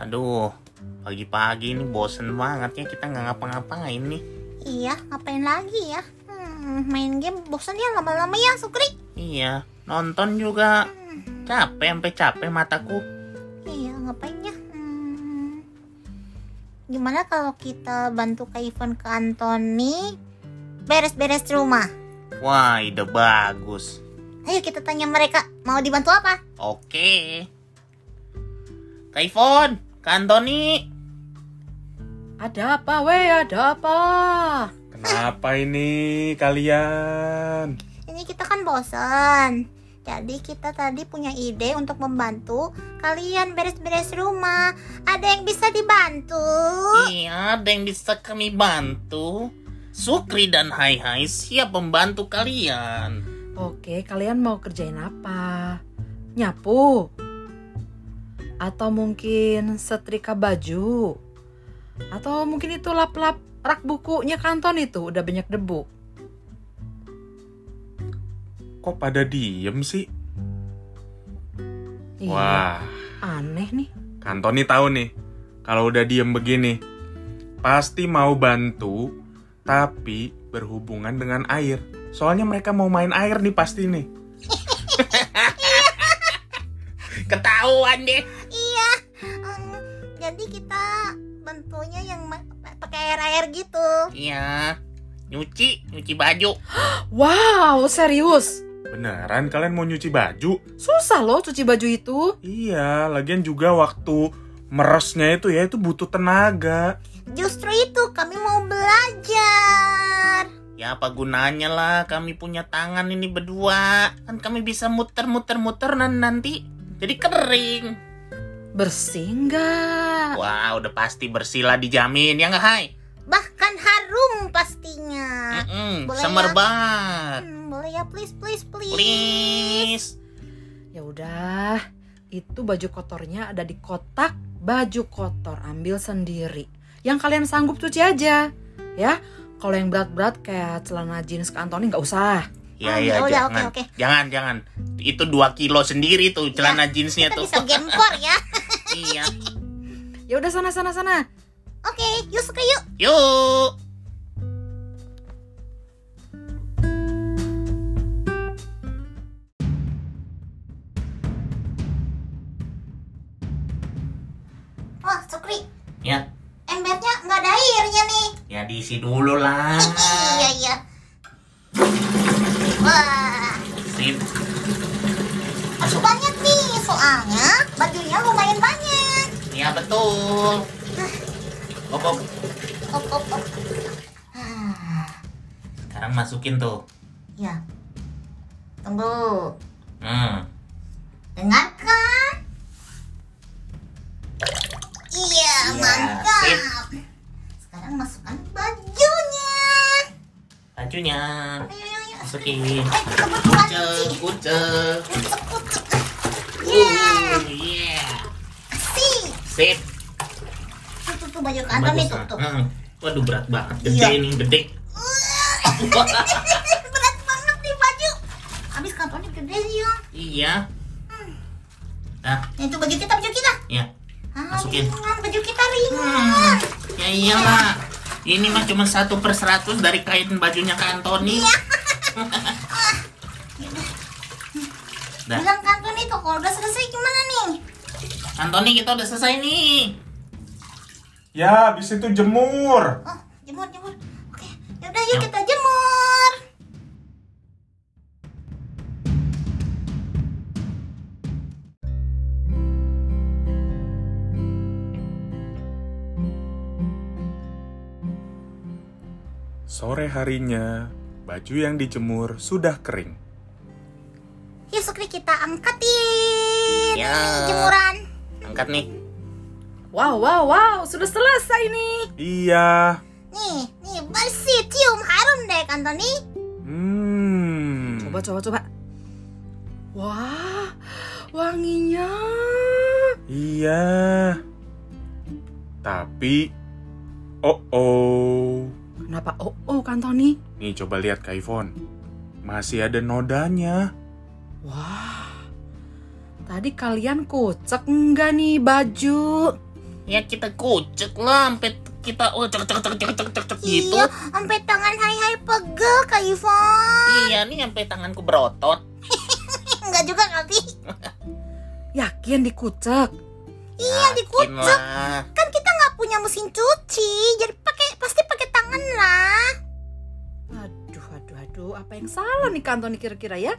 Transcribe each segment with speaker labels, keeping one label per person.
Speaker 1: Aduh, pagi-pagi ini bosen banget ya kita nggak ngapa-ngapain nih.
Speaker 2: Iya, ngapain lagi ya? Hmm, main game bosan ya lama-lama ya, Sukri.
Speaker 1: Iya, nonton juga
Speaker 2: Hmm,
Speaker 1: capek sampai capek mataku.
Speaker 2: iya, ngapain ya? Hmm, gimana kalau kita bantu Kak Ivan ke Antoni beres-beres rumah?
Speaker 1: Wah, ide bagus.
Speaker 2: Ayo kita tanya mereka, mau dibantu apa?
Speaker 1: Oke. Kaifon, Kantoni.
Speaker 3: Ada apa weh? Ada apa?
Speaker 4: Kenapa ini kalian?
Speaker 2: Ini kita kan bosan. Jadi kita tadi punya ide untuk membantu kalian beres-beres rumah. Ada yang bisa dibantu?
Speaker 1: Iya, ada yang bisa kami bantu? Sukri dan Hai Hai siap membantu kalian.
Speaker 3: Oke, kalian mau kerjain apa? Nyapu? Atau mungkin setrika baju? Atau mungkin itu lap-lap rak bukunya kanton itu udah banyak debu.
Speaker 4: Kok pada diem sih?
Speaker 3: Iya,
Speaker 4: Wah,
Speaker 3: aneh nih.
Speaker 4: Kantoni tahu nih. Kalau udah diem begini, pasti mau bantu, tapi berhubungan dengan air. Soalnya mereka mau main air nih pasti nih.
Speaker 1: Ketahuan deh.
Speaker 2: Iya. mm, Jadi kita bentuknya yang ma- pakai air air gitu.
Speaker 1: Iya. Nyuci, nyuci baju.
Speaker 3: Wow, serius?
Speaker 4: Beneran kalian mau nyuci baju?
Speaker 3: Susah loh cuci baju itu.
Speaker 4: Iya, lagian juga waktu meresnya itu ya itu butuh tenaga.
Speaker 2: Justru itu kami mau belajar.
Speaker 1: Ya apa gunanya lah kami punya tangan ini berdua. Kan kami bisa muter-muter-muter nan- nanti jadi kering.
Speaker 3: Bersih nggak?
Speaker 1: Wah, udah pasti bersih lah dijamin ya nggak Hai?
Speaker 2: Bahkan harum pastinya.
Speaker 1: Mm-mm,
Speaker 2: boleh ya.
Speaker 1: semerbat.
Speaker 2: Hmm, boleh ya please please please.
Speaker 1: Ah. Please.
Speaker 3: Ya udah, itu baju kotornya ada di kotak baju kotor, ambil sendiri. Yang kalian sanggup cuci aja, ya. Kalau yang berat-berat kayak celana jeans ke Antoni nggak usah.
Speaker 1: Ya
Speaker 2: Ah,
Speaker 1: ya
Speaker 2: ya udah,
Speaker 1: jangan.
Speaker 2: oke, oke.
Speaker 1: Jangan jangan. Itu 2 kilo sendiri tuh celana jeansnya
Speaker 2: Kita
Speaker 1: tuh.
Speaker 2: bisa gempor ya.
Speaker 1: iya.
Speaker 3: Ya udah sana sana sana.
Speaker 2: Oke, yuk Sukri, yuk.
Speaker 1: Yuk.
Speaker 2: Oh, Sukri.
Speaker 1: Ya,
Speaker 2: Embernya nggak ada airnya nih.
Speaker 1: ya diisi dulu lah. Ah.
Speaker 2: Iya iya. Wah,
Speaker 1: Sip.
Speaker 2: masih banyak nih soalnya bajunya lumayan banyak.
Speaker 1: Ya betul. Op, op.
Speaker 2: Op, op, op. Ah.
Speaker 1: Sekarang masukin tuh.
Speaker 2: Ya. Tunggu.
Speaker 1: Hmm.
Speaker 2: Dengarkan. Iya,
Speaker 1: Iya,
Speaker 2: mantap.
Speaker 1: sip.
Speaker 2: Sekarang masukkan bajunya.
Speaker 1: Bajunya
Speaker 2: Ayo, ayo, ayo.
Speaker 1: masukin.
Speaker 2: Eh, kita berdua
Speaker 1: Kucek,
Speaker 2: cuci.
Speaker 1: kucek.
Speaker 2: Kucek, kucek.
Speaker 1: Iya. Uh,
Speaker 2: Ya,
Speaker 1: yeah.
Speaker 2: sih.
Speaker 1: Sip.
Speaker 2: Tuh, tuh, tuh, baju kantor nih,
Speaker 1: Bagus,
Speaker 2: tuh,
Speaker 1: nah.
Speaker 2: tuh.
Speaker 1: Heeh. Waduh berat banget,
Speaker 2: Iya.
Speaker 1: gede ini gede.
Speaker 2: Uh. Berat banget nih baju. Habis kantornya gede sih, Yung.
Speaker 1: iya. Nah,
Speaker 2: Ya, itu baju kita, baju kita.
Speaker 1: ya.
Speaker 2: Ah,
Speaker 1: Masukin.
Speaker 2: ringan, baju kita ringan.
Speaker 1: Hmm, ya iyalah. Ini mah cuma satu per seratus dari kain bajunya Kak Antoni.
Speaker 2: Iya.
Speaker 1: Dah,
Speaker 2: Bilang kantor nih, tuh, kalau udah selesai gimana nih?
Speaker 1: Antoni kita udah selesai nih.
Speaker 4: Ya, habis itu jemur.
Speaker 2: Oh, jemur, jemur. Oke, yaudah yuk
Speaker 1: Yuk.
Speaker 2: kita jemur.
Speaker 4: Sore harinya, baju yang dijemur sudah kering.
Speaker 2: Yuk Sukri kita angkatin
Speaker 1: Ya.
Speaker 2: nih jemuran.
Speaker 1: Angkat nih.
Speaker 3: Wow wow wow, sudah selesai nih.
Speaker 4: Iya.
Speaker 2: Nih, nih bersih, cium harum deh kan, Antoni.
Speaker 4: Hmm.
Speaker 3: Coba coba coba. Wah, wanginya.
Speaker 4: Iya. Tapi oh oh.
Speaker 3: Kenapa? Oh oh Kantoni.
Speaker 4: Nih coba lihat ke iPhone. Masih ada nodanya.
Speaker 3: Wah, tadi kalian kocek nggak nih baju?
Speaker 1: Ya kita kucek lah sampai kita oh cek cek cek cek cek cek cek gitu.
Speaker 2: Iya, sampai tangan hai-hai pegel Kak Ivon.
Speaker 1: Iya nih sampai tanganku berotot.
Speaker 2: Enggak juga kali.
Speaker 3: Yakin dikucek?
Speaker 2: Iya,
Speaker 1: Yakin
Speaker 2: dikucek.
Speaker 1: lah.
Speaker 2: Kan kita nggak punya mesin cuci, jadi pakai pasti pakai tangan lah.
Speaker 3: Aduh, aduh, aduh, apa yang salah nih Kak Antoni kira-kira ya?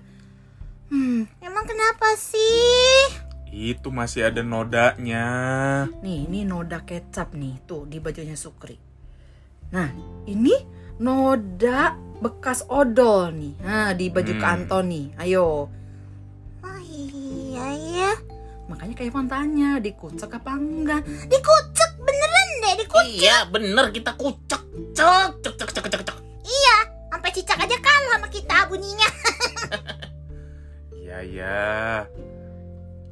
Speaker 3: Hmm,
Speaker 2: Emang kenapa sih?
Speaker 4: Itu masih ada nodanya.
Speaker 3: nih ini noda kecap nih tuh di bajunya Sukri. Nah, ini noda bekas odol nih. Nah, di baju Kak
Speaker 4: Hmm.
Speaker 3: Antoni. Ayo.
Speaker 2: Oh iya ya,
Speaker 3: Makanya kayak Ivan tanya, dikucek apa enggak?
Speaker 2: dikucek beneran deh dikucek.
Speaker 1: Iya bener kita kucek cek cek cek cek cek cek.
Speaker 2: Iya, Sampai cicak aja kalah sama kita bunyinya.
Speaker 4: Iya ya.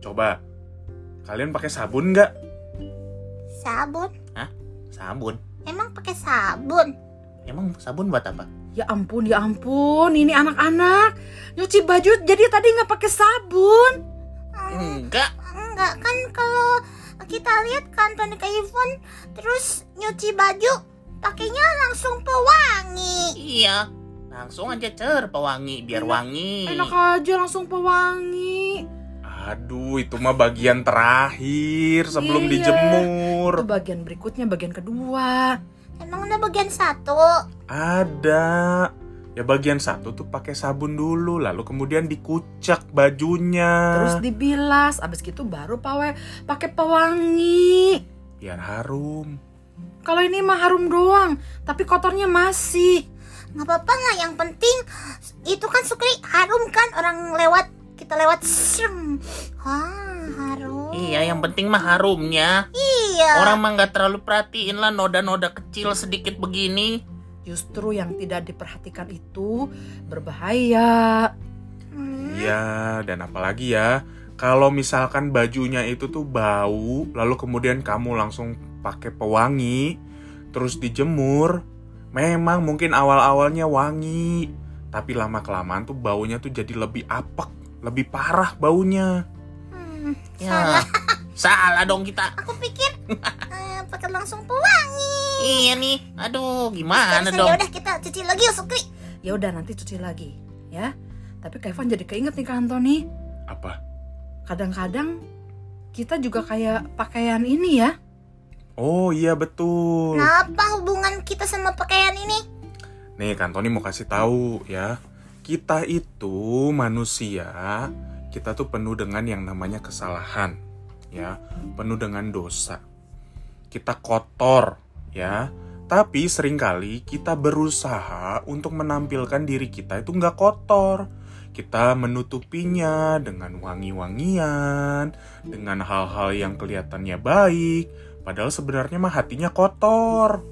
Speaker 4: Coba. Kalian pakai sabun nggak?
Speaker 2: Sabun,
Speaker 1: Sabun.
Speaker 2: emang pakai sabun?
Speaker 1: Emang sabun buat apa?
Speaker 3: Ya ampun, ya ampun, ini anak-anak nyuci baju jadi tadi nggak pakai sabun.
Speaker 2: Hmm,
Speaker 1: Enggak.
Speaker 2: enggak kan kalau kita lihat kantor Kak Ivon terus nyuci baju pakainya langsung pewangi.
Speaker 1: Iya. Langsung aja cer pewangi biar
Speaker 3: Enak-
Speaker 1: wangi.
Speaker 3: Enak aja langsung pewangi.
Speaker 4: Aduh, itu mah bagian terakhir sebelum
Speaker 3: Iya.
Speaker 4: dijemur.
Speaker 3: Itu bagian berikutnya, bagian kedua.
Speaker 2: Emang udah bagian satu.
Speaker 4: Ada. Ya bagian satu tuh pakai sabun dulu, lalu kemudian dikucek bajunya.
Speaker 3: Terus dibilas, abis gitu baru pawe pakai pewangi.
Speaker 4: biar harum.
Speaker 3: Kalau ini mah harum doang, tapi kotornya masih.
Speaker 2: nggak apa-apa lah yang penting itu kan Sukri harum kan orang lewat kita lewat serem ah harum
Speaker 1: Iya yang penting mah harumnya.
Speaker 2: iya
Speaker 1: Orang mah nggak terlalu perhatiin lah noda-noda kecil sedikit begini.
Speaker 3: Justru yang tidak diperhatikan itu berbahaya.
Speaker 2: Hmm,
Speaker 4: Iya, dan apalagi ya, kalau misalkan bajunya itu tuh bau, lalu kemudian kamu langsung pakai pewangi, terus dijemur, memang mungkin awal-awalnya wangi, tapi lama-kelamaan tuh baunya tuh jadi lebih apek, lebih parah baunya.
Speaker 2: hmm,
Speaker 1: Ya.
Speaker 2: salah
Speaker 1: Salah dong kita.
Speaker 2: aku pikir eh, pakai langsung pewangi
Speaker 1: Iya nih. Aduh gimana
Speaker 2: Terus ya
Speaker 1: dong?
Speaker 2: udah kita cuci lagi yuk Sukri
Speaker 3: Ya udah nanti cuci lagi, ya. Tapi Kevin jadi keinget nih Kak Antoni.
Speaker 4: Apa?
Speaker 3: Kadang-kadang kita juga kayak pakaian ini ya.
Speaker 4: Oh iya betul.
Speaker 2: Nah, kenapa hubungan kita sama pakaian ini
Speaker 4: Nih, Kantoni mau kasih tahu ya. Kita itu manusia, kita tuh penuh dengan yang namanya kesalahan, ya, penuh dengan dosa. Kita kotor, ya. Tapi seringkali kita berusaha untuk menampilkan diri kita itu nggak kotor. Kita menutupinya dengan wangi-wangian, dengan hal-hal yang kelihatannya baik, padahal sebenarnya mah hatinya kotor.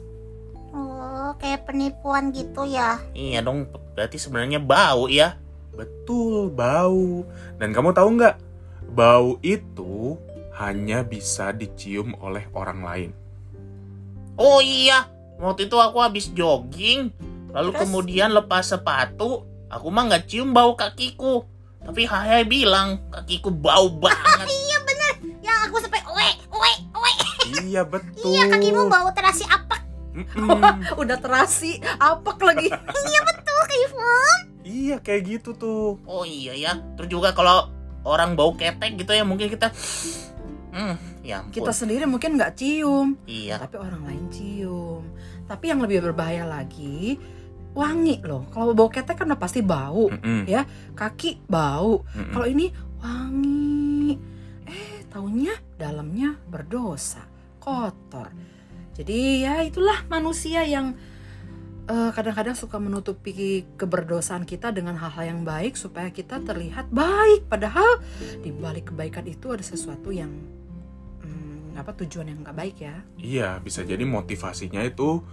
Speaker 2: oh kayak penipuan gitu ya
Speaker 1: Iya dong. Berarti sebenarnya bau ya.
Speaker 4: Betul, bau. Dan kamu tahu nggak? Bau itu hanya bisa dicium oleh orang lain.
Speaker 1: Oh iya, waktu itu aku habis jogging, lalu
Speaker 2: Terus?
Speaker 1: kemudian lepas sepatu, aku mah nggak cium bau kakiku. Tapi Hayai bilang kakiku bau banget.
Speaker 2: iya bener yang aku sampai oe oe oe
Speaker 4: Iya, betul.
Speaker 2: iya kakimu bau terasi apa
Speaker 4: Mm-mm.
Speaker 3: Udah terasi, apek lagi.
Speaker 2: tuh Kak Ivon
Speaker 4: Iya, kayak gitu tuh.
Speaker 1: Oh iya ya, terus juga kalau orang bau ketek gitu ya mungkin kita, hmm, ya ampun.
Speaker 3: Kita sendiri mungkin nggak cium,
Speaker 1: Iya,
Speaker 3: tapi orang lain cium. Tapi yang lebih berbahaya lagi, wangi loh. Kalau bau ketek kan udah pasti bau,
Speaker 4: Mm-mm,
Speaker 3: kaki bau.
Speaker 4: mm-mm.
Speaker 3: Kalau ini wangi. Eh, taunya dalamnya berdosa, kotor. Jadi ya itulah manusia yang eh, kadang-kadang suka menutupi keberdosaan kita dengan hal-hal yang baik supaya kita terlihat baik. Padahal di balik kebaikan itu ada sesuatu yang hmm, apa tujuan yang nggak baik ya.
Speaker 4: Iya, bisa jadi motivasinya itu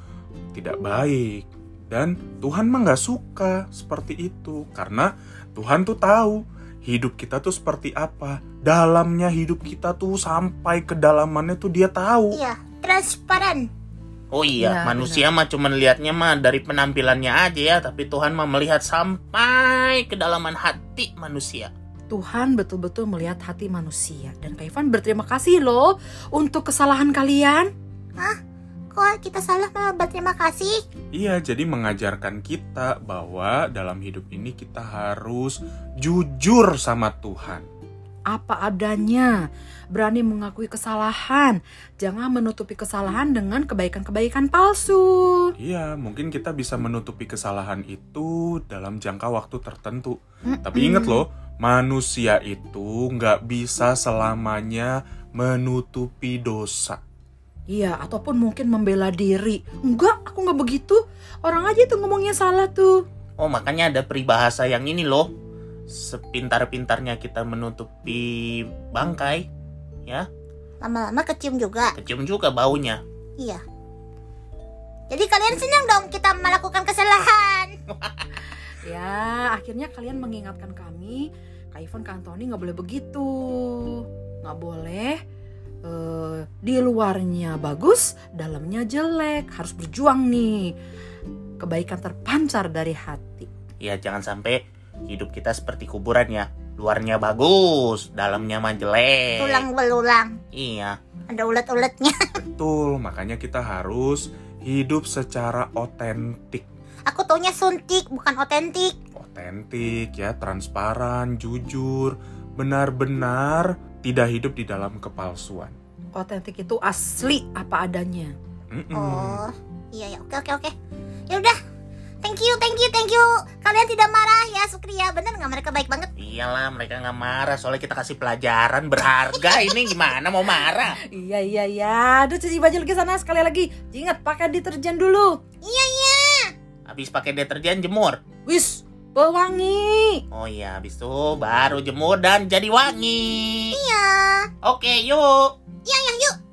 Speaker 4: tidak baik. Dan Tuhan mah nggak suka seperti itu. Karena Tuhan tuh tahu hidup kita tuh seperti apa. Dalamnya hidup kita tuh sampai kedalamannya tuh dia tahu.
Speaker 2: iya transparan
Speaker 1: oh iya,
Speaker 3: Iya,
Speaker 1: manusia mah cuman liatnya mah dari penampilannya aja ya, tapi Tuhan mah melihat sampai kedalaman hati manusia.
Speaker 3: Tuhan betul-betul melihat hati manusia. Dan Kak Ivan berterima kasih loh untuk kesalahan kalian.
Speaker 2: Kok kita salah malah berterima kasih?
Speaker 4: Iya, jadi mengajarkan kita bahwa dalam hidup ini kita harus jujur sama Tuhan.
Speaker 3: apa adanya, berani mengakui kesalahan, jangan menutupi kesalahan dengan kebaikan-kebaikan palsu.
Speaker 4: Iya, mungkin kita bisa menutupi kesalahan itu dalam jangka waktu tertentu. Tapi
Speaker 2: Hmm.
Speaker 3: Mm-mm.
Speaker 4: ingat loh, manusia itu nggak bisa selamanya menutupi dosa.
Speaker 3: Iya, ataupun mungkin membela diri. Enggak, aku nggak begitu. Orang aja itu ngomongnya salah tuh.
Speaker 1: Oh makanya ada peribahasa yang ini loh. Sepintar-pintarnya kita menutupi bangkai,
Speaker 2: Lama-lama kecium juga.
Speaker 1: kecium juga baunya.
Speaker 2: Iya. Jadi kalian senang dong kita melakukan kesalahan.
Speaker 3: Ya, akhirnya kalian mengingatkan kami, Kak Ivan, Kak Antoni nggak boleh begitu. Nggak boleh eh, di luarnya bagus, dalamnya jelek. Harus berjuang nih. Kebaikan terpancar dari hati.
Speaker 1: Ya jangan sampai hidup kita seperti kuburan ya. Luarnya bagus, dalamnya mah
Speaker 4: Eh.
Speaker 1: jelek.
Speaker 2: Tulang belulang.
Speaker 1: Iya.
Speaker 2: Ada ulet-uletnya.
Speaker 4: Betul, makanya kita harus hidup secara otentik.
Speaker 2: Aku taunya suntik bukan otentik.
Speaker 4: Otentik ya, transparan, jujur, benar-benar tidak hidup di dalam kepalsuan.
Speaker 3: Otentik itu asli apa adanya.
Speaker 4: Mm-mm.
Speaker 2: Oh, iya ya. Oke oke oke. Ya udah. Thank you, thank you, thank you. Kalian tidak marah ya, Sukri ya. Bener nggak mereka baik banget?
Speaker 1: Iyalah mereka nggak marah soalnya kita kasih pelajaran berharga ini gimana mau marah?
Speaker 3: Iya iya iya. Aduh cuci baju lagi sana sekali lagi. Ingat pakai deterjen dulu.
Speaker 2: Iya,
Speaker 1: Habis pakai deterjen jemur.
Speaker 3: Wis, pewangi.
Speaker 1: Oh iya, habis itu baru jemur dan jadi wangi.
Speaker 2: Iya.
Speaker 1: Oke, yuk.
Speaker 2: Iya ya, yuk.